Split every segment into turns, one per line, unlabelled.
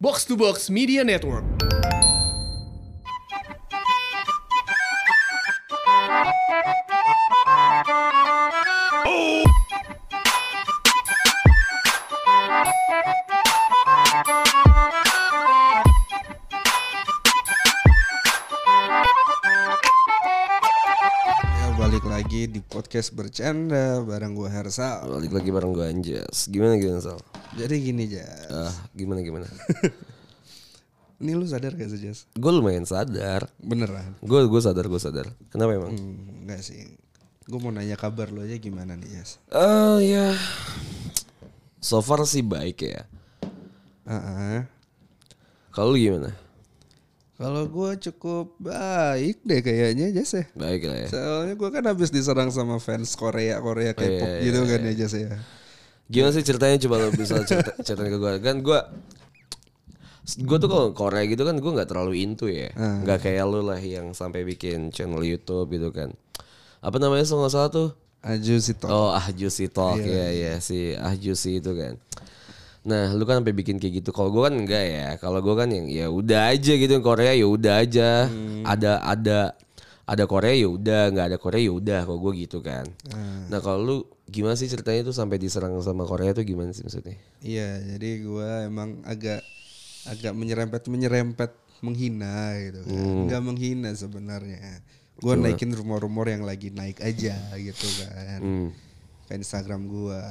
Box to Box Media Network.
Ya balik lagi di podcast bercanda bareng gue Hersa.
Balik lagi bareng gue Anjas. Gimana gimana Sal?
Jadi gini Jas,
Ah, gimana gimana?
ini lu sadar gak sih Jas?
gue lumayan sadar.
Beneran?
Gue gue sadar gue sadar. Kenapa emang?
Hmm, enggak sih. Gue mau nanya kabar lo aja gimana nih Jas?
Eh ya, so far sih baik ya.
Ah, ah.
Kalau lu gimana?
Kalau gue cukup baik deh kayaknya Jas ya.
Baik lah ya.
Soalnya gue kan habis diserang sama fans Korea Korea K-pop
iya,
gitu kan ya Jas ya.
Gimana sih ceritanya coba lu bisa cerita, ceritain ke gue kan gue gue tuh kalau Korea gitu kan gue nggak terlalu into ya nggak kayak lu lah yang sampai bikin channel YouTube gitu kan apa namanya so nggak salah tuh
Aju Sito.
Oh Ahjusi Talk ya ya si Ahjusi itu kan. Nah, lu kan sampai bikin kayak gitu. Kalau gua kan enggak ya. Kalau gua kan yang ya udah aja gitu yang Korea ya udah aja. Ada ada ada Korea ya udah, nggak ada Korea ya udah kalau gua gitu kan. Nah, kalau lu gimana sih ceritanya tuh sampai diserang sama Korea tuh gimana sih maksudnya?
Iya, jadi gue emang agak agak menyerempet menyerempet menghina gitu kan. Nggak menghina sebenarnya. Gue naikin rumor-rumor yang lagi naik aja gitu kan. Ke Instagram gue.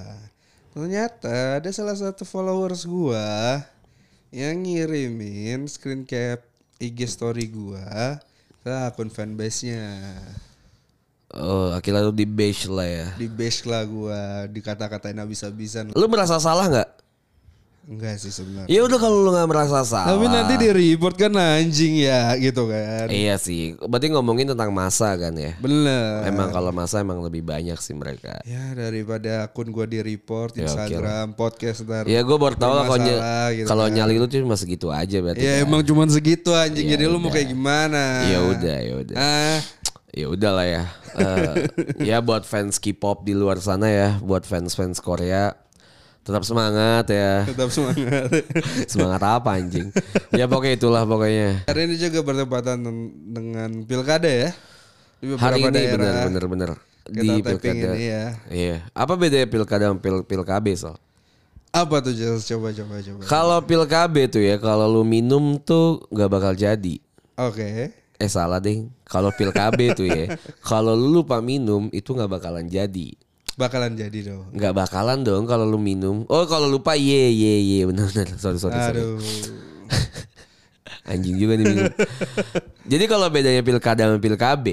Ternyata ada salah satu followers gue yang ngirimin screen cap IG story gue ke akun fanbase-nya.
Oh, akhirnya lu di bash lah ya.
Di bash lah gue, dikata-katain habis-habisan.
Lu merasa salah nggak?
Enggak sih sebenarnya.
Ya udah kalau lu nggak merasa salah.
Tapi nanti di report kan anjing ya gitu kan.
Iya sih. Berarti ngomongin tentang masa kan ya.
Bener.
Emang kalau masa emang lebih banyak sih mereka.
Ya daripada akun gua di report Instagram, podcast ntar.
Ya gue baru tau lah kalau ny-
Bermasalah gitu
kalau nyali lu tuh cuma segitu aja berarti.
Ya emang cuman segitu anjing. Jadi lu mau kayak gimana?
Ya udah, ya udah.
Ah,
Ya udah lah ya. Eh, ya buat fans K-pop di luar sana ya, buat fans-fans Korea tetap semangat ya.
tetap semangat.
Semangat apa anjing? Ya pokoknya itulah pokoknya.
Hari ini juga bertepatan den- dengan pilkada ya. Di
Hari
beberapa
ini
daerah.
bener bener bener
Kita
di
taping
pilkada.
ini ya.
Iya. Apa bedanya pilkada sama pil pilkab soal?
Apa tuh Jas? Coba coba coba.
Kalau pilkab tuh ya kalau lu minum tuh nggak bakal jadi.
Oke.
Eh salah deh. Kalau pil KB tuh ya. Kalau lu lupa minum itu nggak bakalan jadi.
Bakalan jadi dong.
Nggak bakalan dong kalau lu minum. Oh kalau lupa ye ye ye benar benar. Sorry sorry sorry.
Aduh.
Anjing juga nih minum. Jadi kalau bedanya pilkada sama pil KB,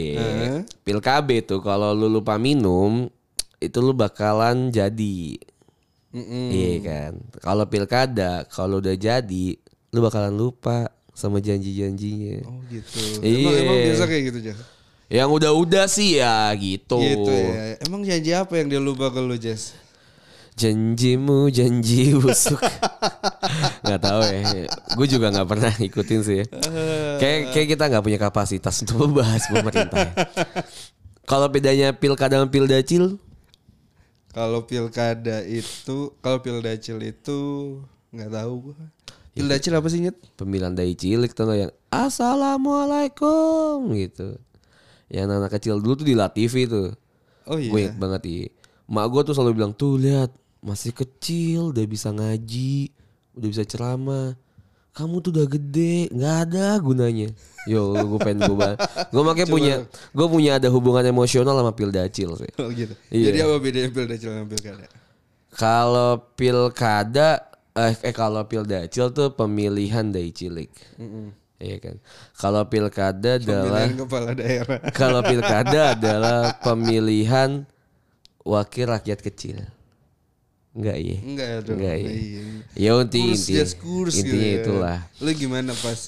pil KB tuh kalau lu lupa minum itu lu bakalan jadi.
Mm-mm.
Iya kan. Kalau pilkada kalau udah jadi lu bakalan lupa sama janji-janjinya.
Oh gitu. Emang,
Iya.
emang biasa kayak gitu Jas?
Yang udah-udah sih ya gitu.
Gitu ya. Emang janji apa yang dia lupa ke lu, Jess?
Janjimu janji busuk Gak tahu ya Gue juga gak pernah ikutin sih ya. Kayak, kayak kita gak punya kapasitas Untuk membahas pemerintah ya. Kalau bedanya pilkada sama pildacil
Kalau pilkada itu, kalau pildacil itu nggak tahu gua. Iya. Pildacil apa sih, Nyet?
Pemilihan dai cilik tuh nggak yang Assalamualaikum gitu Yang anak kecil dulu tuh di La TV tuh
Oh iya.
Gue inget banget iya Mak gue tuh selalu bilang Tuh lihat masih kecil udah bisa ngaji Udah bisa ceramah Kamu tuh udah gede nggak ada gunanya Yo gue pengen gue Gue makanya punya Gue punya ada hubungan emosional sama Pildacil sih
Oh gitu.
Iya.
Jadi apa bedanya pildacil sama pilkada?
Kalau Pilkada Eh, eh kalau Pildacil tuh pemilihan dari cilik Iya kan Kalau Pilkada adalah
Pemilihan kepala daerah.
Kalau pilkada adalah pemilihan wakil rakyat kecil. Enggak ya?
Enggak ya, dong.
Enggak ya.
Iya.
Ya inti
Kurs,
inti.
Jess, kurs gitu
Intinya
kan.
itulah.
Lu gimana pas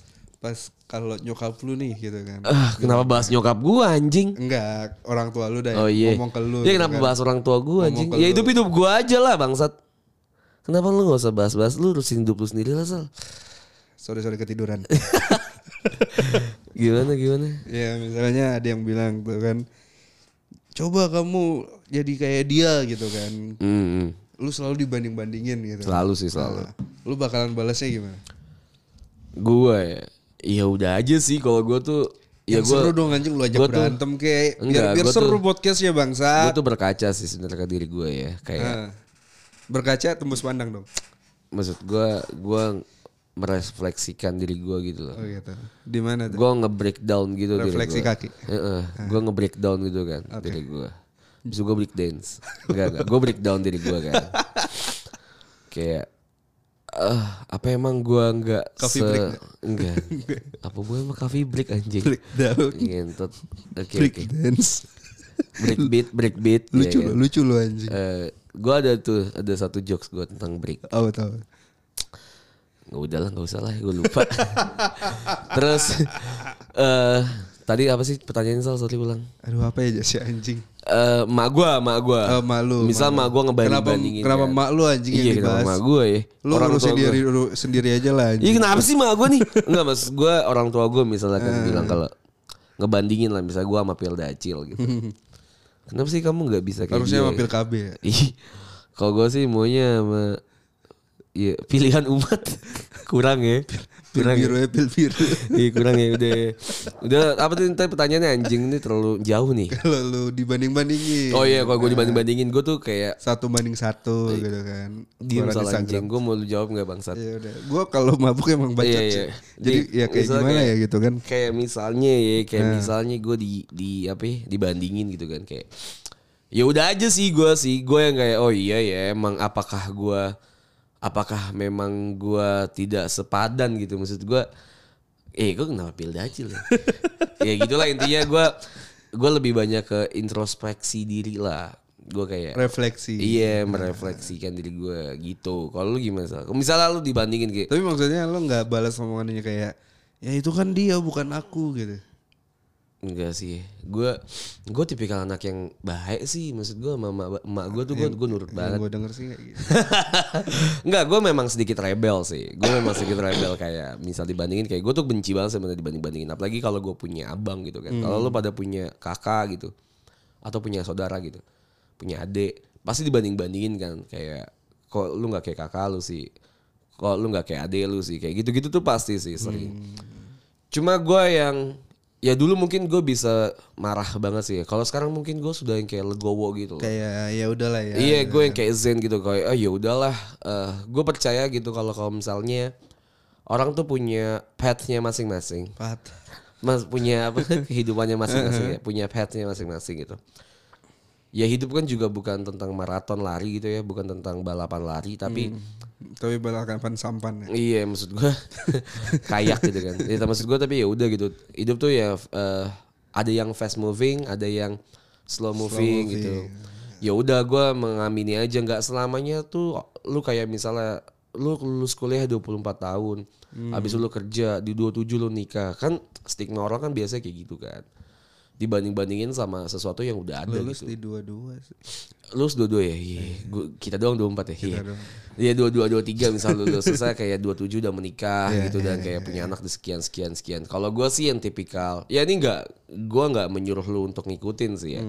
pas kalau nyokap lu nih gitu kan?
Ah, kenapa bahas nyokap gua anjing?
Enggak, orang tua lu dah
Oh iya.
ngomong ke lu.
Ya
gitu
kenapa
kan.
bahas orang tua gua anjing?
ke
Ya
lu.
hidup-hidup gua aja lah bangsat. Kenapa lu gak usah bahas-bahas lu urusin hidup lu sendiri lah Sal.
Sorry, sorry ketiduran.
Gimana gimana?
Ya misalnya ada yang bilang tuh kan Coba kamu jadi kayak dia gitu kan
Hmm, hmm.
Lu selalu dibanding-bandingin gitu
selalu sih selalu.
Nah, Lu bakalan balasnya gimana?
Gue ya, ya udah aja sih kalau gue tuh ya
Yang
gue
seru dong anjing lu ajak
gua tuh-
berantem kayak biar,
Enggak,
biar
gua
seru
tuh-
podcastnya
gue
bangsa.
tuh berkaca sih sebenarnya ke diri gue ya kayak
Nah, berkaca tembus pandang dong.
maksud gue gue merefleksikan diri gue gitu loh.
Oh gitu. Di mana tuh?
Gue nge-breakdown gitu diri
Refleksi
gua.
kaki.
Heeh, gue nge-breakdown gitu kan diri gue. Bisa gue break dance. Enggak, enggak. Gue breakdown diri gue kan. Kayak eh apa emang gua enggak
Coffee
se
break
enggak. apa gue emang coffee break anjing.
Breakdown.
Ngentot. Oke,
Break
oke.
dance.
Break beat, break beat. ya
lucu
kan.
lu, lucu lu anjing.
Eh, gua ada tuh ada satu jokes gua tentang break.
Oh tahu.
nggak udah lah nggak usah lah gue lupa terus eh tadi apa sih pertanyaannya sal sorry ulang
Aduh apa ya si anjing.
Eh mak gue mak gue
Eh, mak lu,
misal
mak
mak
lu.
gue ngebanding
Kenapa-
bandingin
kenapa mak lu anjing yang
iya kenapa
dibahas?
mak gue ya
Lu ngurusin
tua gua.
diri lu sendiri aja lah
iya
anjing.
kenapa sih mak gue nih enggak mas gue orang tua gue misalnya
Eh.
kan bilang kalau ngebandingin lah misalnya gue sama Pilda Acil gitu kenapa sih kamu nggak bisa kayak
Harusnya
dia
sama
ya?
pil KB ya.
Ih, kalau gue sih maunya sama ya, pilihan umat kurang ya
Pil
kurang ya.
biru ya pil biru.
Iya kurang ya udah udah apa tuh tadi pertanyaannya anjing ini terlalu jauh nih.
Kalau lu dibanding-bandingin.
Oh iya kalau gue dibanding bandingin gue tuh kayak
Satu banding satu gitu kan.
diem
Suara di
soal
Instagram.
anjing gue mau lu jawab nggak bangsat?
Ya udah, gua kalau mabuk emang bacot
Iya,
sih.
iya.
Jadi
Nih,
ya kayak
misalnya
gimana
kayak-
ya gitu kan. Nah.
Kayak misalnya ya kayak misalnya gue di di apa ya, dibandingin gitu kan kayak ya udah aja sih gue sih gue yang kayak oh iya ya emang apakah gue apakah memang gue tidak sepadan gitu maksud gue eh gue kenapa pilih acil ya ya gitulah intinya gue gue lebih banyak ke introspeksi diri lah gue kayak
Refleksi.
iya merefleksikan diri gue gitu kalau lu gimana Sal? misalnya lu dibandingin kayak
Tapi maksudnya lo nggak balas omongannya kayak ya itu kan dia bukan aku gitu.
Enggak sih, gue gue tipikal anak yang baik sih, maksud gue mama emak gue tuh gue gue nurut
Yang
banget.
gue denger sih kayak gitu.
Enggak, gue memang sedikit rebel sih, gue memang sedikit rebel kayak misal dibandingin kayak gue tuh benci banget sebenarnya dibanding bandingin, apalagi kalau gue punya abang gitu kan, kalau lo pada punya kakak gitu atau punya saudara gitu, punya adik pasti dibanding bandingin kan kayak kok lu nggak kayak kakak lu sih, kok lu nggak kayak adik lu sih, kayak gitu gitu tuh pasti sih sering. Cuma gue yang ya dulu mungkin gue bisa marah banget sih. Kalau sekarang mungkin gue sudah yang kayak legowo gitu. loh.
kayak ya udahlah ya.
iya, gue yang kayak zen gitu kayak oh ya udahlah. eh, gue percaya gitu kalau kalau misalnya orang tuh punya path-nya masing-masing.
Pat.
Mas punya apa kehidupannya masing-masing ya, punya path-nya masing-masing gitu. Ya hidup kan juga bukan tentang maraton lari gitu ya, bukan tentang balapan lari tapi
Hmm. Tapi balapan sampan ya.
Iya maksud gua kayak gitu kan. Ya, maksud gua tapi ya udah gitu. Hidup tuh ya eh, ada yang fast moving, ada yang slow moving, gitu. Ya udah gua mengamini aja nggak selamanya tuh lu kayak misalnya lu lulus kuliah 24 tahun, habis itu lu kerja di 27 lu nikah. Kan stigma orang kan biasanya kayak gitu kan. Dibanding-bandingin sama sesuatu yang udah ada
Lulus
gitu.
di dua-dua sih.
Lulus dua-dua ya, iya. Gua- kita doang 24 ya. Iya. Iya dua-dua dua tiga misal lulus saya kayak 27 udah menikah gitu dan kayak punya anak di sekian sekian sekian. Kalau gue sih yang tipikal, ya ini nggak, gue nggak menyuruh lu untuk ngikutin sih ya.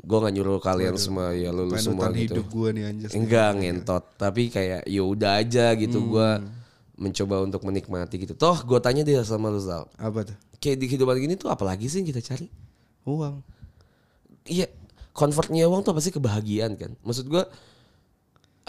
Gue nggak nyuruh kalian semua ya lulus semua
Panutan
gitu.
hidup gue nih anjas.
Enggak ngentot, tapi kayak ya udah aja gitu gua mencoba untuk menikmati gitu. Toh gue tanya dia sama lu Zal,
Apa tuh?
kayak di kehidupan gini tuh apalagi sih yang kita cari?
Uang.
iya convertnya uang tuh apa sih kebahagiaan kan maksud gua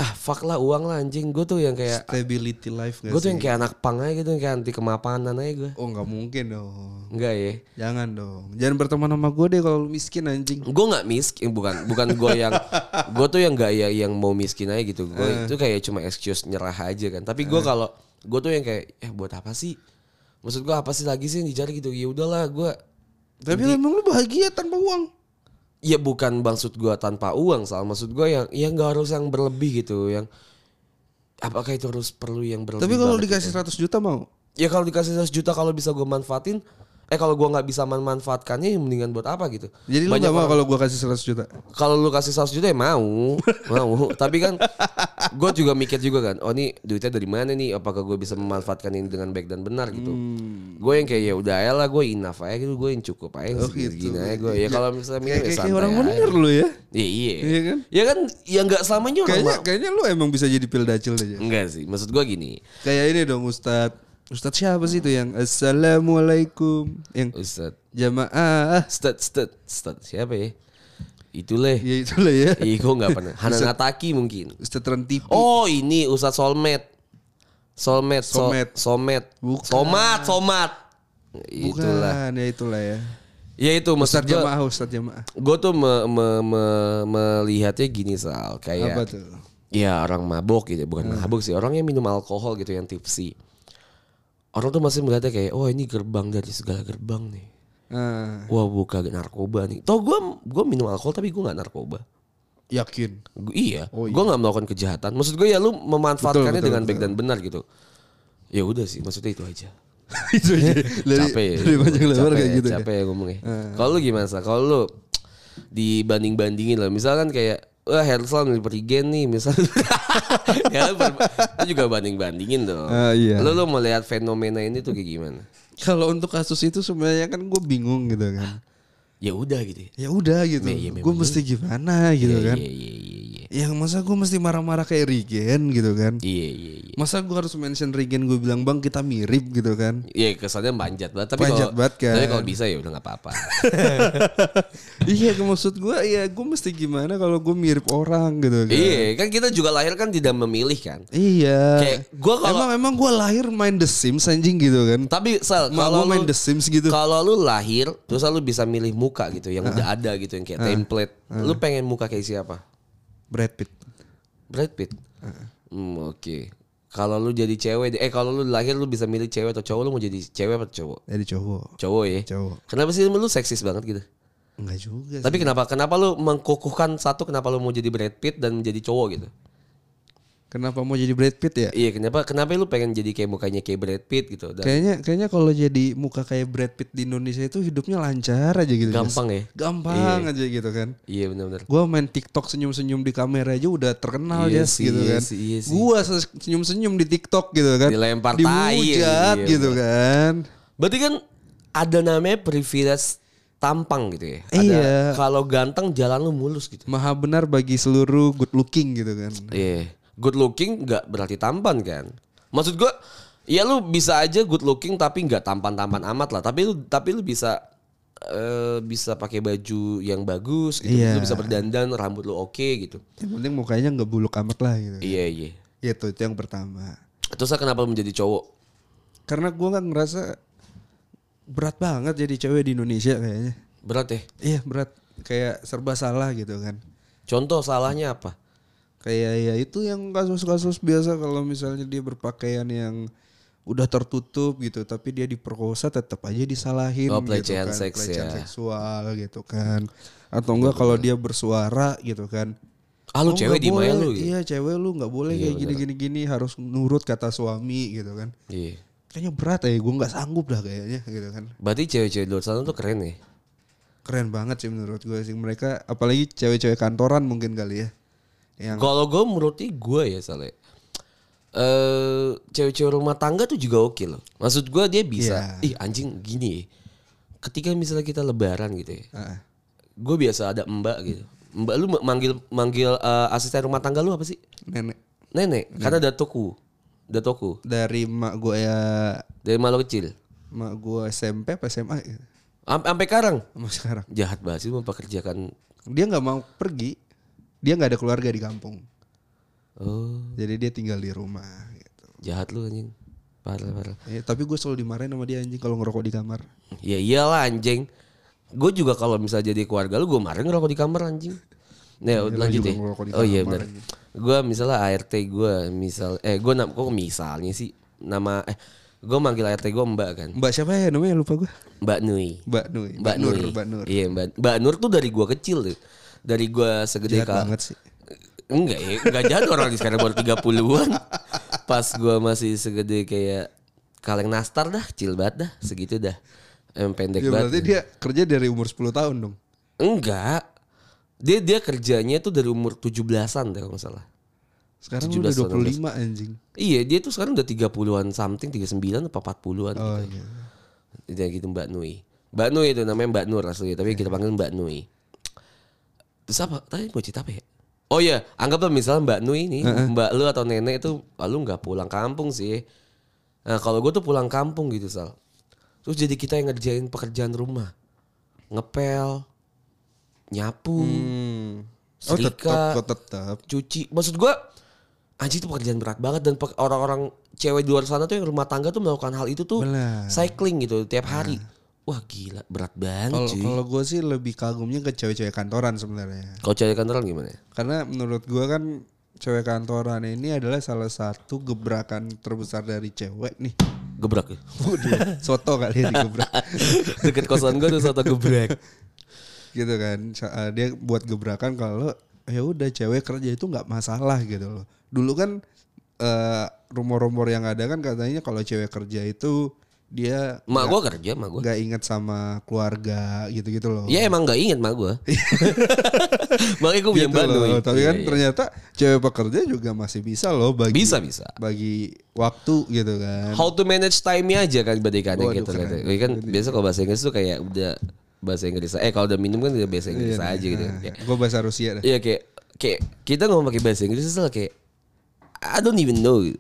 ah fuck lah uang lah anjing gue tuh yang kayak
Stability life gak
gue
Iya sih?
tuh yang kayak anak pang aja gitu yang kayak anti kemapanan aja gue
Oh nggak mungkin dong.
enggak ya
Jangan dong. Jangan berteman sama gue deh kalau lu miskin anjing.
gue nggak miskin bukan bukan gue yang gue tuh yang nggak ya yang mau miskin aja gitu gue itu kayak cuma excuse nyerah aja kan tapi gue kalau gue tuh yang kayak ya buat apa sih maksud gue apa sih lagi sih yang dicari gitu ya udahlah gue
Tapi emang lu bahagia tanpa uang.
Ya bukan maksud gua tanpa uang soal maksud gua yang ya nggak harus yang berlebih gitu yang apakah itu harus perlu yang berlebih
Tapi kalau
banget?
dikasih 100 juta mau?
ya kalau dikasih 100 juta kalau bisa gua manfaatin eh kalau gua nggak bisa memanfaatkannya ya mendingan buat apa gitu
Jadi lu
Banyak
gak mau kalau gue kasih 100 juta?
kalau lu kasih 100 juta ya mau mau tapi kan gue juga mikir juga kan oh ini duitnya dari mana nih apakah gue bisa memanfaatkan ini dengan baik dan benar gitu gue yang kayak ya udah ya lah gue enough aja gitu gue yang cukup aja
Hmm. Oh,
segini
gitu.
aja gue ya kalau misalnya mikir
Kayak,
ya
kayak- kayak
santai
orang
aja.
bener lu ya.
Iya, iya.
Iya kan?
Ya kan, ya nggak selamanya orang
Kayaknya
mau.
kayaknya lu emang bisa jadi pil dacil aja.
Enggak sih, maksud gua gini.
Kayak ini dong Ustadz Ustadz siapa sih itu yang Assalamualaikum yang
Ustad,
jamaah
Ustad, Ustad, Ustad siapa ya? Itulah.
ya itulah ya
Ih, gue nggak pernah. Hananataki mungkin.
Ustadz Rantipi
Oh ini Ustadz Solmed. Solmed, so-
Somet.
Somet,
Bukan.
Somat, Somat. Itulah.
bukan ya itulah ya
Ya itu maksud
Ustadz
gue.
jamaah Ustadz jamaah
Gue tuh me- me- me- melihatnya gini Sal
apa
Kayak
tuh
Ya orang mabok gitu Bukan mabok sih Orang yang minum alkohol gitu Yang tipsy Orang tuh masih melihatnya kayak Oh ini gerbang dari segala gerbang nih
Ah,
Wah buka narkoba nih Tau gue gua minum alkohol Tapi gue gak narkoba
yakin
Gu- iya, gue nggak melakukan kejahatan. Maksud gue ya lu memanfaatkannya dengan baik dan benar gitu. Ya udah sih, maksudnya itu aja.
itu aja dari,
capek ya.
dari panjang lebar
Capek
kayak
ya,
gitu ya.
Capek ya ngomongnya. Kalau lu gimana? Sa? Kalau lu dibanding-bandingin lah. Misalkan kayak Wah Hersal milih Perigen nih misalnya ya, lu, ber- lu juga banding-bandingin dong
Ah, iya.
Lu lu melihat fenomena ini tuh kayak gimana?
kalau untuk kasus itu sebenarnya kan gue bingung gitu kan
Ya udah gitu ya
ya udah gitu
Iya, iya,
gue mesti gimana gitu
Iya
kan
iya iya iya
yang masa gue mesti marah-marah kayak Regen gitu kan
Iya iya iya
masa gue harus mention Regen gue bilang bang kita mirip gitu kan
Iya kesannya manjat banget Tapi
Manjat
kalau
banget kan.
Tapi kalau bisa ya udah gak apa-apa
iya maksud gue ya gue mesti gimana kalau gue mirip orang gitu kan
Iya, kan kita juga lahir kan tidak memilih kan.
iya
Kayak gua kalau-
emang emang gue lahir main The Sims anjing gitu kan
Tapi Sal,
Mak
kalau
gue main
lu
The Sims gitu
kalau lu lahir terus lu bisa milih muka gitu yang udah ada gitu yang kayak template. Lu pengen muka kayak siapa?
Brad Pitt
Brad Pitt. Hmm, oke. Kalau lu jadi cewek eh kalau lu lahir lu bisa milih cewek atau cowok lu mau jadi cewek atau cowok?
jadi Eh, cowok
Cowok ya.
Cowok.
Kenapa sih lu seksis banget gitu?
enggak juga sih.
Tapi kenapa kenapa lu mengkukuhkan satu kenapa lu mau jadi Brad Pitt dan menjadi cowok gitu?
kenapa mau jadi Brad Pitt ya
Iya, kenapa kenapa lu pengen jadi kayak mukanya kayak Brad Pitt gitu? Dan
Kayaknya kayaknya kalau jadi muka kayak Brad Pitt di Indonesia itu hidupnya lancar aja gitu. Jas.
gampang ya?
Gampang aja gitu kan.
Iya benar-benar.
Gua main TikTok senyum-senyum di kamera aja udah terkenal
Iya
Jas,
sih,
gitu
iya
kan.
sih, iya sih.
Gua se- senyum-senyum di TikTok gitu kan.
Dilempar tai,
Dihujat
iya,
gitu kan.
Berarti kan ada namanya privilege tampang gitu ya. Ada
Iya.
kalau ganteng jalan lu mulus gitu.
Maha benar bagi seluruh good looking gitu kan.
Iya. Good looking nggak berarti tampan kan? Maksud gua ya lu bisa aja good looking tapi nggak tampan-tampan amat lah. Tapi lu tapi lu bisa eh, bisa pakai baju yang bagus gitu.
Iya.
Lu bisa berdandan, rambut lu oke gitu.
Yang penting mukanya nggak buluk amat lah gitu.
Iya, iya.
Itu itu yang pertama.
Terus lah kenapa lu menjadi cowok?
Karena gua nggak ngerasa berat banget jadi cewek di Indonesia kayaknya.
Berat ya.
Iya berat kayak serba salah gitu kan.
Contoh salahnya apa?
Kayak ya itu yang kasus-kasus biasa kalau misalnya dia berpakaian yang udah tertutup gitu tapi dia diperkosa tetap aja disalahin
Oh,
gitu
pelecehan
kan.
seks
pelecehan
ya. Iya,
seksual gitu kan. Atau enggak kalau dia bersuara gitu kan.
Ah
"Oh,
lu cewek
nggak
di
boleh,
mana lu gitu.
Iya, cewek lu nggak boleh kayak gini-gini gini harus nurut kata suami gitu kan.
Iya.
Kayaknya berat ya, gue nggak sanggup lah kayaknya gitu kan.
Berarti cewek-cewek di luar sana tuh keren ya.
Keren banget sih menurut gue sih mereka apalagi cewek-cewek kantoran mungkin kali ya. Yang
Kalau gue menuruti gue ya Sale. Eh cewek-cewek rumah tangga tuh juga oke loh. Maksud gue dia bisa. Ih anjing gini. ya. Ketika misalnya kita lebaran gitu ya.
ah,
Gue biasa ada mbak gitu. Mbak lu ma- manggil manggil eh, asisten rumah tangga lu apa sih?
nenek
Nenek. Karena datoku. Datoku.
dari mak gue ya
Dari malu kecil.
mak gue SMP apa SMA ya?
Am- Sampai sekarang.
sama sekarang
Jahat banget sih mempekerjakan.
dia nggak mau pergi dia nggak ada keluarga di kampung
Oh
jadi dia tinggal di rumah gitu
jahat lu anjing. Parah parah.
Eh, tapi gue selalu dimarahin sama dia anjing kalau ngerokok di kamar
Ya iyalah anjing. Gue juga kalau misalnya jadi keluarga lu gue marah ngerokok di kamar anjing. Nah, lanjut
Iya, juga
ya.
ngerokok di
Oh iya
kamar,
benar. Gue misalnya ART gue misal eh gue nam kok misalnya sih nama eh gue manggil ART gue Mbak kan.
mbak siapa ya namanya lupa gue
Mbak Nui.
mbak Nui
Mbak,
Nur
Nui.
mbak Nur
Iya, Mbak, Mbak Nur tuh dari gue kecil tuh. Dari gue segede
jahat
kal
banget sih
Enggak ya, enggak jahat orang di sekarang baru 30-an. Pas gua masih segede kayak kaleng nastar dah, kecil banget dah, segitu dah. Em pendek
ya,
banget.
berarti dia kerja dari umur 10 tahun dong
Enggak. Dia dia kerjanya tuh dari umur 17-an deh kalau nggak salah.
sekarang lu udah 25 anjing
Iya, dia tuh sekarang udah 30-an something, 39 apa 40-an
oh,
gitu.
iya.
Dia gitu Mbak Nui. Mbak Nui itu namanya Mbak Nur asli, tapi
Iya.
kita panggil Mbak Nui. Terus apa? Tadi mau cerita apa ya? Oh iya, anggaplah misalnya Mbak Nui nih, Mbak lu atau nenek itu ah, lu nggak pulang kampung sih. Nah kalau gue tuh pulang kampung gitu Sal. Terus jadi kita yang ngerjain pekerjaan rumah. Ngepel. Nyapu.
Hmm. Oh tetap,
Setrika.
kok tetap.
cuci. Maksud gua anjing itu pekerjaan berat banget dan pe- orang-orang cewek di luar sana tuh yang rumah tangga tuh melakukan hal itu tuh
Benar.
cycling gitu tiap hari. Wah gila berat banget
Kalau
cuy.
kalau gue sih lebih kagumnya ke cewek-cewek kantoran sebenarnya.
Kalau cewek kantoran gimana? ya?
Karena menurut gue kan cewek kantoran ini adalah salah satu gebrakan terbesar dari cewek nih.
Gebrak ya.
Waduh, soto kali ya digebrak.
Deket kosan gua tuh soto gebrak.
gitu kan. Sa- eh, Dia buat gebrakan kalau ya udah cewek kerja itu nggak masalah gitu loh. Dulu kan eh, rumor-rumor yang ada kan katanya kalau cewek kerja itu dia
Mak gua kerja, mak gua.
nggak ingat sama keluarga gitu-gitu loh.
Ya emang gak inget mak gua. Makanya gua punya
Iya. Gitu loh.
Banui.
Tapi
Iya,
kan
iya.
ternyata cewek pekerja juga masih bisa loh bagi
bisa bisa.
bagi waktu gitu kan.
How to manage time-nya aja kan berarti kan yang
Waduh,
kita
keren.
lihat. Ini kan biasa kalau bahasa Inggris tuh kayak udah bahasa Inggris. Eh kalau udah minum kan udah
Iya,
bahasa Inggris aja gitu. Kayak-
Gue nah, bahasa Rusia dah.
Iya kayak kayak kita ngomong pakai bahasa Inggris itu kayak I don't even know. gitu.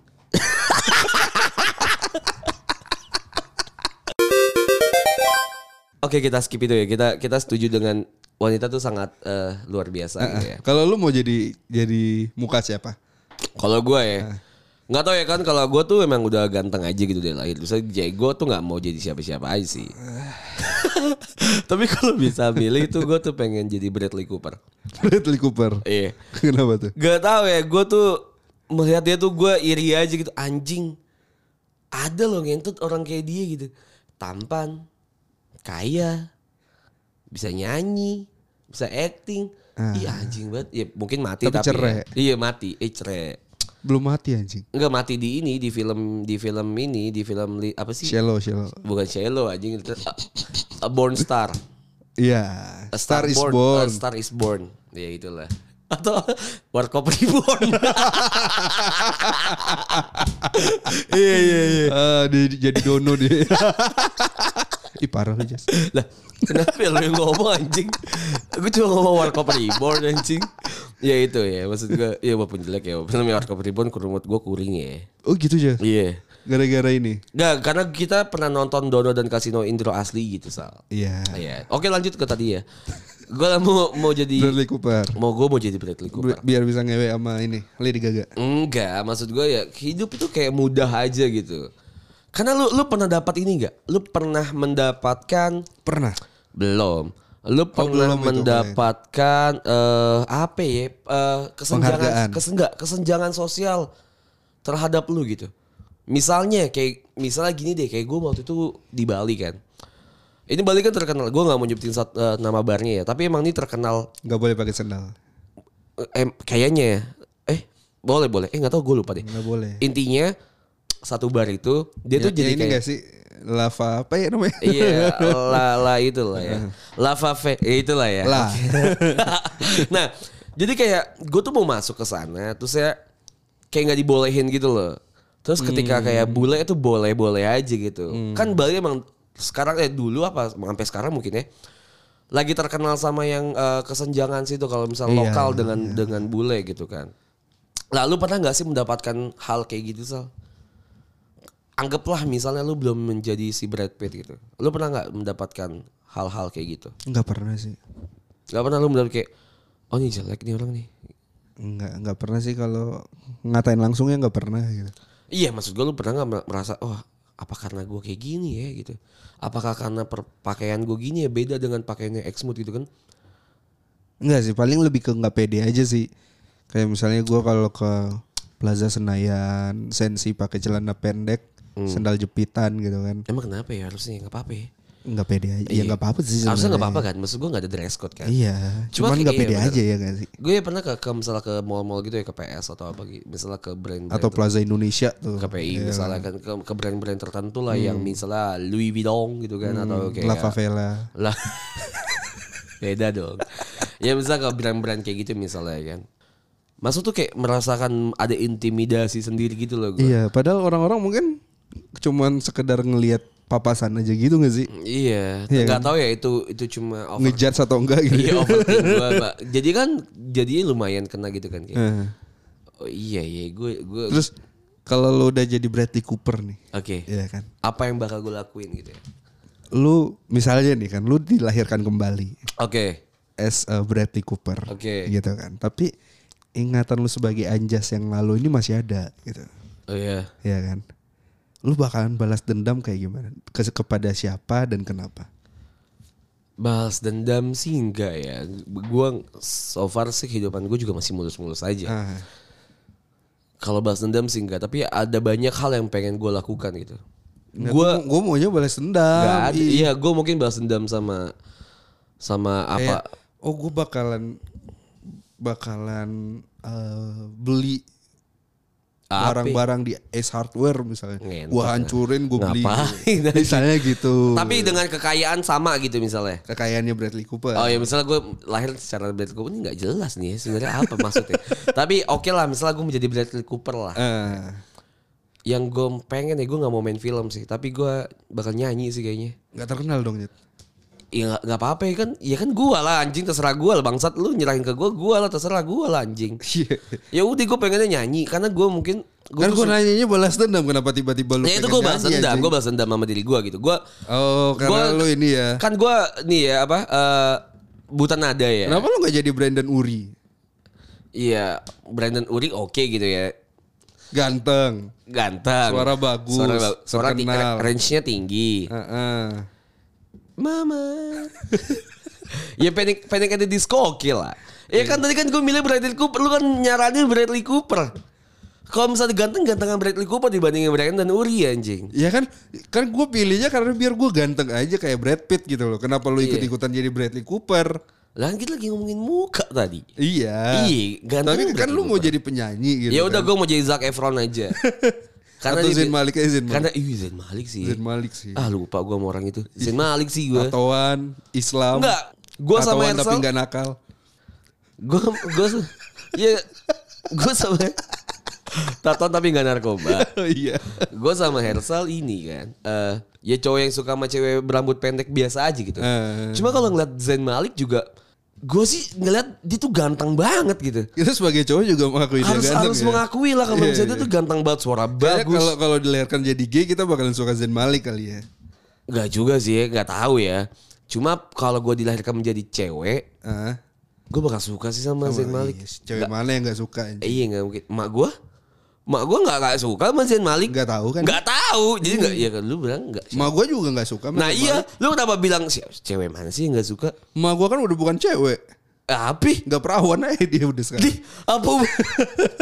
Oke kita skip itu ya kita kita setuju dengan wanita tuh sangat eh, luar biasa gitu ya.
Kalau lu mau jadi jadi muka siapa?
Kalau gue ya nggak tahu ya kan kalau gue tuh emang udah ganteng aja gitu dari lahir. Terus jago tuh nggak mau jadi siapa-siapa aja sih. Tapi kalau bisa milih tuh gue tuh pengen jadi Bradley Cooper.
Bradley Cooper.
Iya.
Kenapa tuh?
Gak tau ya, gue tuh melihat dia tuh gue iri aja gitu. Anjing, ada loh ngentut orang kayak dia gitu. Tampan, kaya, bisa nyanyi, bisa acting. Iya anjing banget. Ya mungkin mati
Tapi
tapi,
Ah. cerai.
ya. Iya mati, eh cerai.
Belum mati anjing.
Enggak mati di ini, di film, di film ini, di film li- apa sih?
Shallow, shallow.
Bukan Shallow anjing. itu. A, A Born Star.
Iya.
A
Star, is born.
A Star is Born. Ya itulah. Atau Warkop Reborn. Iya iya iya.
Eh, dia- jadi dono dia. Ih parah lu Jas.
Lah, kenapa lu yang ngomong anjing? Gue cuma ngomong Warkop Reborn anjing. Ya itu ya, maksud gue ya walaupun jelek ya, walaupun namanya Warkop Reborn kurumut gue kuring ya.
Oh gitu Jas.
Iya.
Gara-gara ini.
Nggak, karena kita pernah nonton Dono dan Kasino Indro asli gitu, Sal.
Iya.
Iya. Oke, lanjut ke tadi ya. Gue mau mau jadi
Bradley Cooper.
mau gue mau jadi Bradley Cooper.
Bi- Biar bisa ngewe sama ini Lady Gaga.
Enggak, maksud gue ya hidup itu kayak mudah aja gitu. Karena lu lu pernah dapat ini enggak? Lu pernah mendapatkan
Pernah.
belum? Lu pernah
Oh, belum itu,
mendapatkan eh apa ya? Eh,
Penghargaan.
kesenjangan kesenggak kesenjangan sosial terhadap lu gitu. Misalnya kayak misalnya gini deh, kayak gue waktu itu di Bali kan. Ini Bali kan terkenal. Gue nggak mau nyebutin sat- eh, nama barnya ya, tapi emang ini terkenal
Gak boleh pakai sendal.
eh, kayaknya ya. Eh, boleh boleh. Eh nggak tahu gue lupa deh.
Gak boleh.
Intinya satu bar itu
Nah.
dia
Ya-
tuh jadi
ya ini
kayak
gak sih lava apa ya namanya?
Iya, la la itulah ya. Lava fe, ya itulah ya.
Lah.
Oke. nah, jadi kayak gue tuh mau masuk ke sana, terus saya kayak nggak dibolehin gitu loh. Terus ketika kayak bule itu boleh-boleh aja gitu. Kan Bali emang sekarang ya dulu apa sampai sekarang mungkin ya lagi terkenal sama yang eh, kesenjangan situ kalau misal
Iya,
lokal dengan dengan bule gitu kan. Lalu pernah nggak sih mendapatkan hal kayak gitu sal? anggaplah misalnya lu belum menjadi si Brad Pitt gitu. Lu pernah nggak mendapatkan hal-hal kayak gitu?
Enggak pernah sih.
Gak pernah lu mendapat kayak oh ini jelek nih orang nih.
Enggak, enggak pernah sih kalau ngatain langsungnya enggak pernah gitu.
Iya maksud gue lu pernah nggak merasa oh apa karena gue kayak gini ya gitu? Apakah karena pakaian gue gini ya beda dengan pakaiannya Exmut gitu kan?
Enggak sih, paling lebih ke enggak pede aja sih. Kayak misalnya gua kalau ke Plaza Senayan, sensi pakai celana pendek,
Hmm.
sendal jepitan gitu kan.
Emang kenapa ya harusnya nggak apa-apa ya?
Enggak pede aja. Ya enggak apa-apa sih.
Iya. Harusnya
sebenarnya.
nggak apa-apa kan? Maksud gue nggak ada dress code kan?
Iya, cuman
Cuma kayak-
enggak
iya,
pede
benar.
aja ya enggak sih?
Gue pernah ke, ke misalnya ke mall-mall gitu ya ke PS atau apa gitu, misalnya ke brand,
Atau iya. Plaza Indonesia tuh.
KPI misalnya kan ke, ke brand-brand tertentu lah yang
Hmm.
misalnya Louis Vuitton gitu kan atau kayak
La Favela.
lah beda dong ya misalnya ke brand-brand kayak gitu misalnya kan maksud tuh kayak merasakan ada intimidasi sendiri gitu loh gue
Iya, padahal orang-orang mungkin cuman sekedar ngelihat papasan aja gitu enggak sih?
iya
Iya
nggak tahu ya itu itu cuma over
Ngejudge atau enggak gitu.
iya overthink gua, Pak. jadi kan jadi lumayan kena gitu kan kayak
Eh.
oh iya iya gue gue
Terus kalau lu udah jadi Bradley Cooper nih,
Oke.
ya kan?
Apa yang bakal gue lakuin gitu ya?
Lu misalnya nih kan, lu dilahirkan kembali
Oke.
as a Bradley Cooper,
Oke.
gitu kan? Tapi ingatan lu sebagai Anjas yang lalu ini masih ada, gitu,
Oh iya.
ya kan? Lu bakalan balas dendam kayak gimana? Ke- kepada siapa dan kenapa?
Balas dendam sih enggak ya. Gue so far sih kehidupan gue juga masih mulus-mulus aja.
Ah,
Kalau balas dendam sih enggak, tapi ada banyak hal yang pengen gue lakukan gitu. Gue
gua gua maunya balas dendam.
enggak ada. Iya, gue mungkin balas dendam sama sama
Kayak,
apa?
oh gue bakalan bakalan eh, beli
Apa?
barang-barang di Ace Hardware misalnya.
Ngentot
Gue hancurin, gue beli.
Ngapain aja?
misalnya gitu.
Tapi dengan kekayaan sama gitu misalnya.
Kekayaannya Bradley Cooper.
Oh ya misalnya gue lahir secara Bradley Cooper ini nggak jelas nih ya, sebenarnya apa maksudnya. Tapi oke lah misalnya gue menjadi Bradley Cooper lah.
Eh,
Yang gue pengen ya gue nggak mau main film sih, tapi gue bakal nyanyi sih kayaknya.
nggak terkenal dong Nyet.
Ya nggak- nggak apa-apa ya kan, ya kan gue lah anjing terserah gue lah bangsat lu nyerahin ke gue, gue lah terserah gue lah anjing.
Iya.
Ya udah gue pengennya nyanyi karena gue mungkin gue
kan gue nanyanya balas dendam kenapa tiba-tiba lu
Ya itu
pengen
gue balas
nyanyi,
dendam,
anjing?
gue balas dendam sama diri gue gitu. Gue
Oh karena
Gua-
lu ini ya.
kan gue nih ya apa eh, buta nada ya.
Kenapa lu nggak jadi Brandon Uri?
Iya, Brandon Uri oke gitu ya.
Ganteng.
Ganteng.
Suara bagus,
Suara, ba- suara ti-
terkenal.
range-nya tinggi.
Heeh.
Mama. ya panic panic at the disco oke lah. Ya
Iya.
kan tadi kan gue milih Bradley Cooper, lu kan nyaranin Bradley Cooper. Kalau misalnya ganteng, gantengan Bradley Cooper dibandingin Brandon Uri anjing.
Ya kan, kan gue pilihnya karena biar gue ganteng aja kayak Brad Pitt gitu loh. Kenapa lu
Iya.
ikut-ikutan jadi Bradley Cooper?
Lah kita lagi ngomongin muka tadi.
Iya.
Iya, ganteng
Tapi kan
Bradley
lu mau jadi penyanyi gitu.
ya udah gue mau jadi Zac Efron aja.
Karena
karena
Atau
dia-
Zayn Malik aja Zayn Malik.
Karena ih Zayn Malik sih.
Zayn Malik Iya. sih.
Ah lupa gue sama orang itu. Zayn Malik sih gue.
Tatoan, Islam.
Enggak, gue sama
Tatoan tapi
Ersel
nggak nakal.
gue gue ya gue sama taton tapi nggak narkoba
Oh, iya.
gue sama Hersal ini kan eh ya cowok yang suka sama cewek berambut pendek biasa aja gitu
Eh.
cuma kalau ngeliat Zain Malik juga gue sih ngeliat dia tuh ganteng banget gitu
Kita sebagai cowok juga mengakui dia
harus
ganteng
harus
ya.
mengakui lah kalau
Iya,
misalnya dia
iya.
tuh ganteng banget suara
Kayaknya
bagus
kalau kalau dilahirkan jadi gay kita bakalan suka Zayn Malik kali ya.
nggak juga sih ya, nggak tahu ya cuma kalau gue dilahirkan menjadi cewek
Ah.
gue bakal suka sih sama Zain Malik
Iya, Cewek mana yang nggak suka? anjing?
Eh, Iya nggak mungkin. Mak gue, mak gue nggak nggak suka sama Zain Malik.
Nggak tahu kan?
Nggak tahu. Jadi nggak. Ya kan lu bilang nggak.
Ma gue juga nggak suka.
Nah iya, lu kenapa bilang "Si- cewek mana sih yang nggak suka?
Ma gue kan udah bukan cewek,
Eh, Api?
nggak perawan aja dia udah sekarang.
Di apa?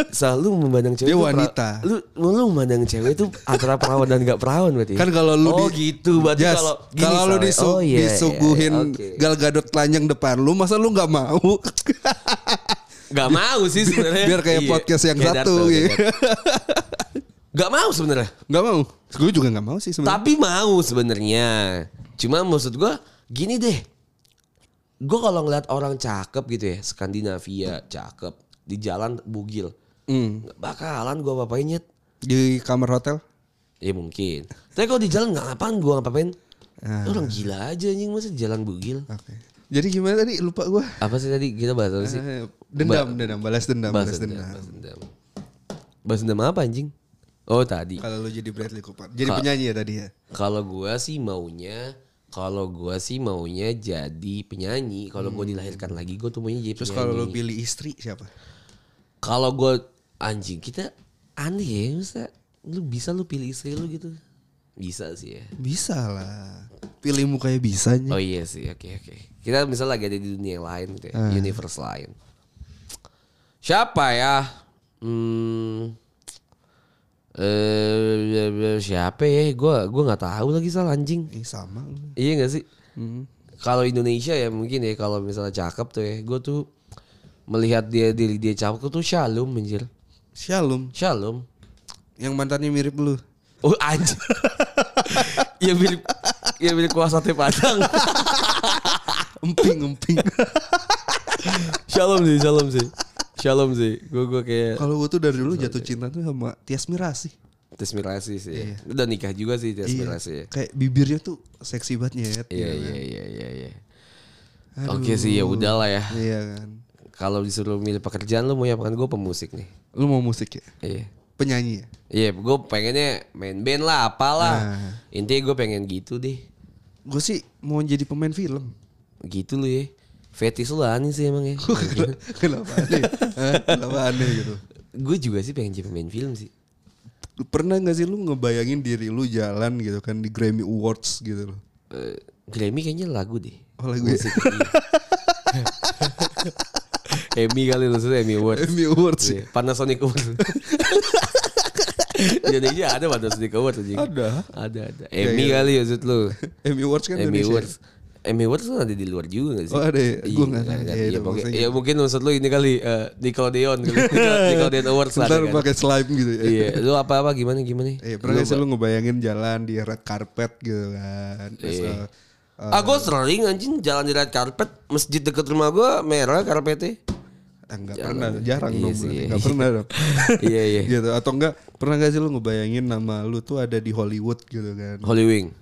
Selalu memandang
Dia
cewek tuh pra-
wanita.
Lu lu memandang cewek itu antara perawan dan nggak perawan berarti.
Kan kalau lu
Oh
di-
gitu berarti
Jas,
kalau gini,
kalau lu
Sal, ya.
disu,
Oh, iya, iya,
disuguhin
iya, oke.
Gal Gadot telanjang depan lu, masa lu nggak mau?
Gak mau sih sebenarnya.
biar kayak podcast yang satu, iya. Hmm.
Gak mau sebenarnya.
Nggak mau. Gue juga nggak mau sih sebenarnya.
Tapi mau sebenarnya. Cuma maksud gua gini deh. Gue kalau ngeliat orang cakep gitu ya, Skandinavia cakep di jalan bugil,
Hmm.
nggak bakalan gua apa-apain Nyet.
Di kamar hotel.
Ya mungkin. Tapi kalau di jalan nggak ngapain gua ngapain?
Ah.
Orang gila aja anjing masa di jalan bugil.
Oke. Jadi gimana tadi? Lupa gue.
Apa sih tadi kita bahas apa sih?
Dendam, dendam, balas dendam,
Bahas
balas
dendam.
Ah, dendam.
Bahas dendam. Bahas dendam apa anjing? Oh tadi.
Kalau lu jadi Bradley Cooper, jadi penyanyi ya tadi ya.
Kalau gua sih maunya kalau gua sih maunya jadi penyanyi. Kalau gua dilahirkan lagi gua tuh maunya jadi
Hmm. Terus
penyanyi.
kalau lu pilih istri siapa?
Kalau gua anjing kita aneh ya, bisa lu bisa lu pilih istri lu gitu. Bisa sih ya.
Bisa lah. Pilih mukanya bisa aja.
Oh iya sih, oke oke. Kita misalnya lagi ada di dunia yang lain gitu ya, universe lain. Siapa ya? Hmm, eh siapa ya? Gua gua nggak tahu lagi soal anjing.
Ini sama. lu.
Iya gak sih? Kalau Indonesia ya mungkin ya kalau misalnya cakep tuh ya, gue tuh melihat dia diri dia cakep tuh shalom anjir.
Shalom,
Shalom.
yang mantannya mirip lu.
Oh anjir. ya mirip ya mirip kuah sate padang.
Emping, emping.
shalom sih, shalom sih. Shalom sih. Gue gue kayak
Kalau gue tuh dari dulu jatuh cinta tuh sama Tias Mirasih. Iya.
Tes Mirasi sih. Udah nikah juga sih Tes Mirasi ya.
Kayak bibirnya tuh seksi banget nyet.
Iya iya iya iya iya. Oke sih ya udahlah ya.
Iya kan.
Kalau disuruh milih pekerjaan lu mau yang gue ya, kan pemusik nih.
Lu mau musik ya?
Iya.
penyanyi ya?
Iya, gue pengennya main band lah, apalah.
Nah.
Intinya gue pengen gitu deh.
Gue sih mau jadi pemain film.
Gitu lu ya. Fetis lu aneh sih emang ya.
Iya. Kenapa aneh? Hah? Kenapa aneh gitu?
gue juga sih pengen jadi pemain film sih.
Pernah gak sih lu ngebayangin diri lu jalan gitu kan di Grammy Awards gitu loh?
Eh, Grammy kayaknya lagu deh.
Oh lagu ya?
Emmy kali lu maksudnya Emmy Award.
Grammy Awards ya?
Iya, Panasonic Award. Jadi aja ada Panasonic Award anjing.
Ada.
Ada ada. Emmy kali ya, maksud lu.
Emmy Awards Iya, kan
Emmy
Indonesia.
Awards. Emmy Awards tuh ada di luar juga gak sih?
Oh, ada ya? Gua
Iya,
nggak tahu.
kan?
Ya,
Iya,
itu
pokoknya-
maksudnya.
ya, mungkin maksud lu ini kali eh, Nickelodeon kali. Nickel- Nickelodeon Awards lah. ada
Ntar
kan?
pakai slime gitu ya.
Iya, lu apa-apa gimana gimana?
Eh, pernah gak sih lu ngebayangin jalan di red carpet gitu kan? Terus,
Iya.
eh, eh,
Ah, gue sering anjing jalan di red carpet, masjid deket rumah gue merah karpetnya.
enggak eh, pernah, jarang dong
sih,
berarti.
iya,
Enggak
iya.
pernah dong.
Iya iya.
gitu atau enggak pernah gak sih lu ngebayangin nama lu tuh ada di Hollywood gitu kan?
Hollywood.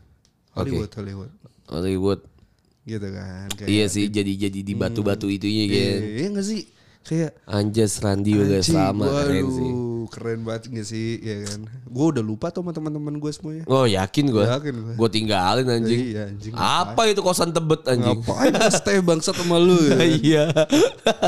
Hollywood, Hollywood.
Hollywood.
Gitu kan. Kayak
Iya sih, jadi-jadi di batu-batu itunya
Iya,
kan.
iya gak sih? Kayak
Anjas Randi juga
Anjing,
sama keren
waduh,
sih.
keren banget gak sih ya kan gue udah lupa tuh sama teman-teman gue semuanya
Oh yakin gue,
Yakin gua.
gue tinggalin anjing.
Iya, anjing,
Apa itu kosan tebet anjing?
ngapain gua stay bangsat sama lu ya kan?
Iya.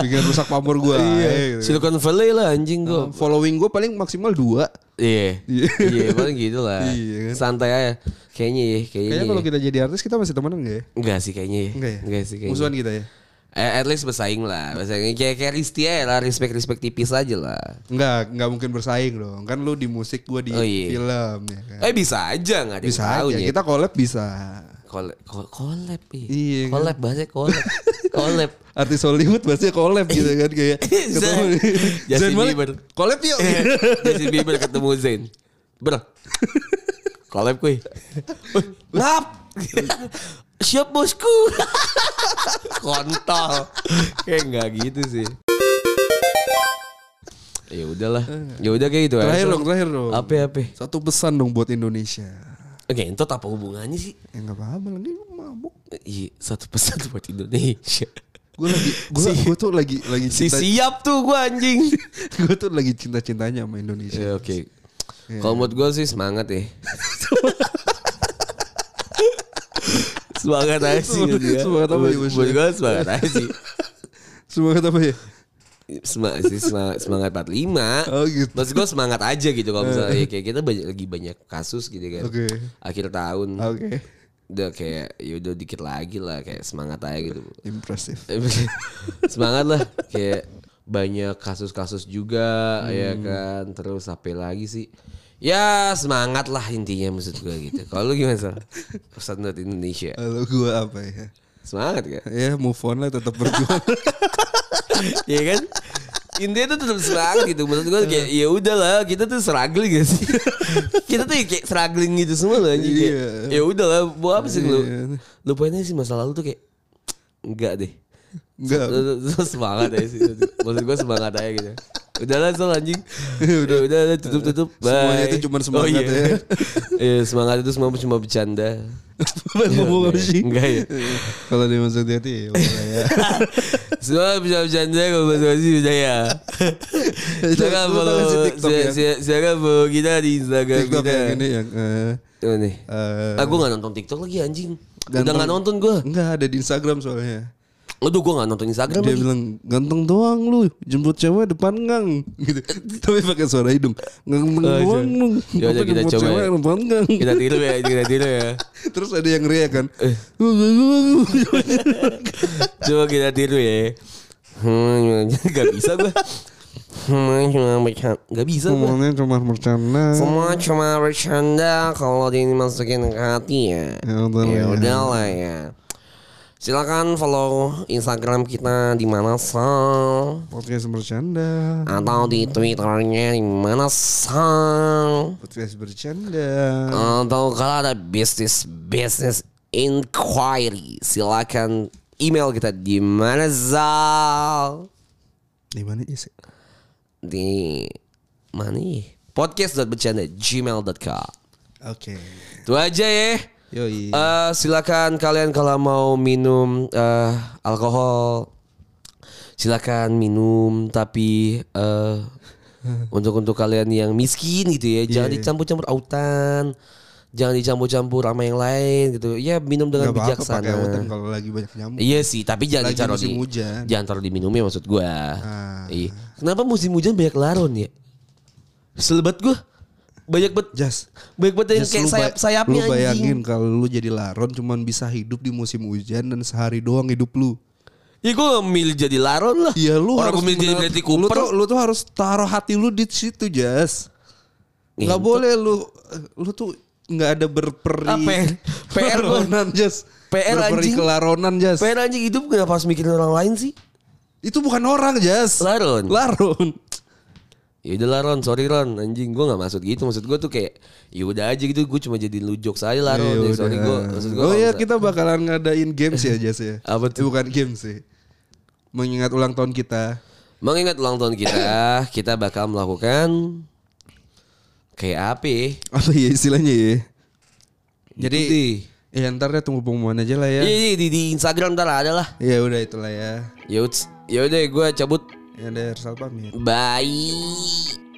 bikin rusak pamor gue gitu.
Silicon Valley lah anjing gue.
following gue paling maksimal dua
Iya. Iya, paling gitu lah.
Iya
Santai aja. Kayaknya ya, kayaknya.
kayaknya
ya.
kalau kita jadi artis kita masih temenan gak ya
Enggak sih kayaknya ya.
enggak ya
Enggak sih kayaknya.
musuhan kita ya
Eh, at least bersaing lah. Bersaing kayak kayak Risti aja lah, respect-respect tipis aja lah.
Enggak, enggak mungkin bersaing dong. Kan lu di musik, gue di
Oh, iya.
film ya kan.
Eh bisa aja nggak ada yang
Bisa
tahu
aja,
ya.
kita collab bisa.
Collab, collab, iya.
Iya, kan?
collab bahasanya collab, collab.
Artis Hollywood pasti collab gitu kan kayak ketemu
Justin
Malik,
Bieber. Eh,
Collab yuk.
Justin Bieber ketemu Zayn. Ber. Collab kuy. Wih, Ngap. Siap bosku. Kontol. Kayak nggak gitu sih. Ya udahlah. Ya udah kayak gitu
Terakhir
aja.
dong, terakhir dong.
Apa apa?
Satu pesan dong buat Indonesia.
Oke, entot apa hubungannya sih?
Ya nggak apa-apa lagi lu mabuk.
Iya, satu pesan buat Indonesia.
Gue lagi, gue gua tuh lagi lagi
Si
cinta,
siap tuh gua anjing.
gue tuh lagi cinta cintanya sama Indonesia.
Ya, Oke.
Iya.
Kalau menurut gue sih semangat ya. semangat aja sih menurut gua.
Semangat apa ya, Bos?
Menurut gue semangat aja sih.
Semangat apa ya?
Semangat sih semangat, semangat 45.
Oh, gitu.
Maksud gue semangat aja gitu kalau misalnya ya, kayak kita banyak lagi banyak kasus gitu kan.
Oke. Ah.
Akhir tahun.
Oke,
Udah kayak ya udah dikit lagi lah kayak semangat aja gitu.
impresif.
semangat lah kayak banyak kasus-kasus juga ya
Hmm.
kan terus apa lagi sih ya semangat lah intinya maksud gue gitu kalau lu gimana sal pesan buat Indonesia
Kalau gue apa ya?
semangat kan
Ya move on lah, tetap berjuang. Iya
ya kan intinya tuh tetap semangat gitu maksud gue kayak ya udahlah kita tuh struggling gak sih kita tuh kayak struggling gitu semua loh anjing kayak,
Iya.
ya udahlah buat apa sih lu
Iya.
lupain aja sih masa lalu tuh kayak enggak deh
Enggak.
Terus semangat aja sih. Maksud gue semangat aja gitu. Udahlah soal anjing. udah, udah, udah, tutup, tutup. Bye.
Semuanya itu cuman semangat
iya.
ya.
Iya, semangat itu semua cuma bercanda.
Ngomong apa sih?
Enggak ya.
Kalau dimaksud hati ya boleh ya.
Semua bisa bercanda kalau bahasa Basi udah ya. Silakan
Iya, Lu
follow
tahu sih TikTok
si-
ya?
si- ya. silakan follow kita di Instagram
TikTok
kita.
yang ini yang eh,
Tuh nih.
eh,
Ah, gue gak nonton TikTok lagi anjing. Udah
Ganteng.
gak nonton gue.
enggak ada di Instagram soalnya.
Aduh, gue gak nonton Instagram
Dia
lagi.
bilang ganteng doang lu jemput cewek depan gang gitu. Tapi pakai suara hidung. Ganteng
Oh,
doang lu.
Ya
apa
udah, kita
jemput
coba
cewek
ya.
depan gang.
Kita tiru ya, Eh. kita tiru ya.
Terus ada yang riak kan.
Coba kita tiru ya. Hmm, gak bisa gue. Hmm, cuma bercanda. Gak bisa gue.
Semuanya cuma bercanda.
Hmm. Semua cuma bercanda kalau dimasukin ke hati ya.
Ya udah lah
Ya
ya.
udahlah ya. Silakan follow Instagram kita di mana sal
Podcast bercanda.
atau di Twitternya di mana sal
Podcast bercanda.
atau kalau ada bisnis bisnis inquiry silakan email kita di mana sal
Di mana sih?
di mana ya? podcast.bercanda gmail.com
Oke.
itu aja ya
Yoi.
Eh, silakan kalian kalau mau minum eh, alkohol silakan minum tapi eh untuk untuk kalian yang miskin gitu ya
Iya,
jangan dicampur-campur autan jangan dicampur-campur sama yang lain gitu ya minum dengan
Gak apa-apa
bijaksana
pakai oten kalau lagi banyak nyamuk.
Iya sih, tapi jangan
Lagi
ditaruh
musim
di
hujan.
jangan taruh di minumnya maksud gua.
Ah.
Iya. Kenapa musim hujan banyak laron ya? Selebat gua. Banyak bet
Jas.
banyak bet yang
Jas,
kayak
lu ba-
sayap-sayapnya
Lu bayangin
anjing.
kalau lu jadi laron cuman bisa hidup di musim hujan dan sehari doang hidup lu.
Ya gua gak milih jadi laron lah.
Iya lu
Orang
harus
gua milih jadi
mengenal-
Bradley
Lu
Cooper.
tuh, lu tuh harus taruh hati lu di situ, Jas. Nggak
Ngentut.
boleh lu lu tuh nggak ada berperi.
Ah, P- PR gua.
laronan, Jas.
PR
berperi
anjing.
kelaronan, Jas.
Pengen anjing hidup kenapa harus mikirin orang lain sih?
Itu bukan orang, Jas.
Laron.
Laron.
Ya udah lah Ron, sorry Ron, anjing gua gak maksud gitu. Maksud gua tuh kayak ya udah aja gitu, gua cuma jadi lu jokes aja lah
Iya,
Ron. Ya, sorry gua, maksud gua.
oh
kalau
iya
misal-
kita bakalan ngadain games ya Jas ya.
Apa
Eh,
tuh?
Bukan games sih. Mengingat ulang tahun kita.
Mengingat ulang tahun kita, kita bakal melakukan kayak apa? ya?
Apa ya istilahnya ya? Jadi
Itu sih.
ya ntar deh tunggu pengumuman aja lah ya.
Iya, iya, di, di Instagram ntar ada lah.
Ya udah itulah ya.
Yauds, yaudah gue cabut.
Ya udah Rizal pamit.
Bye.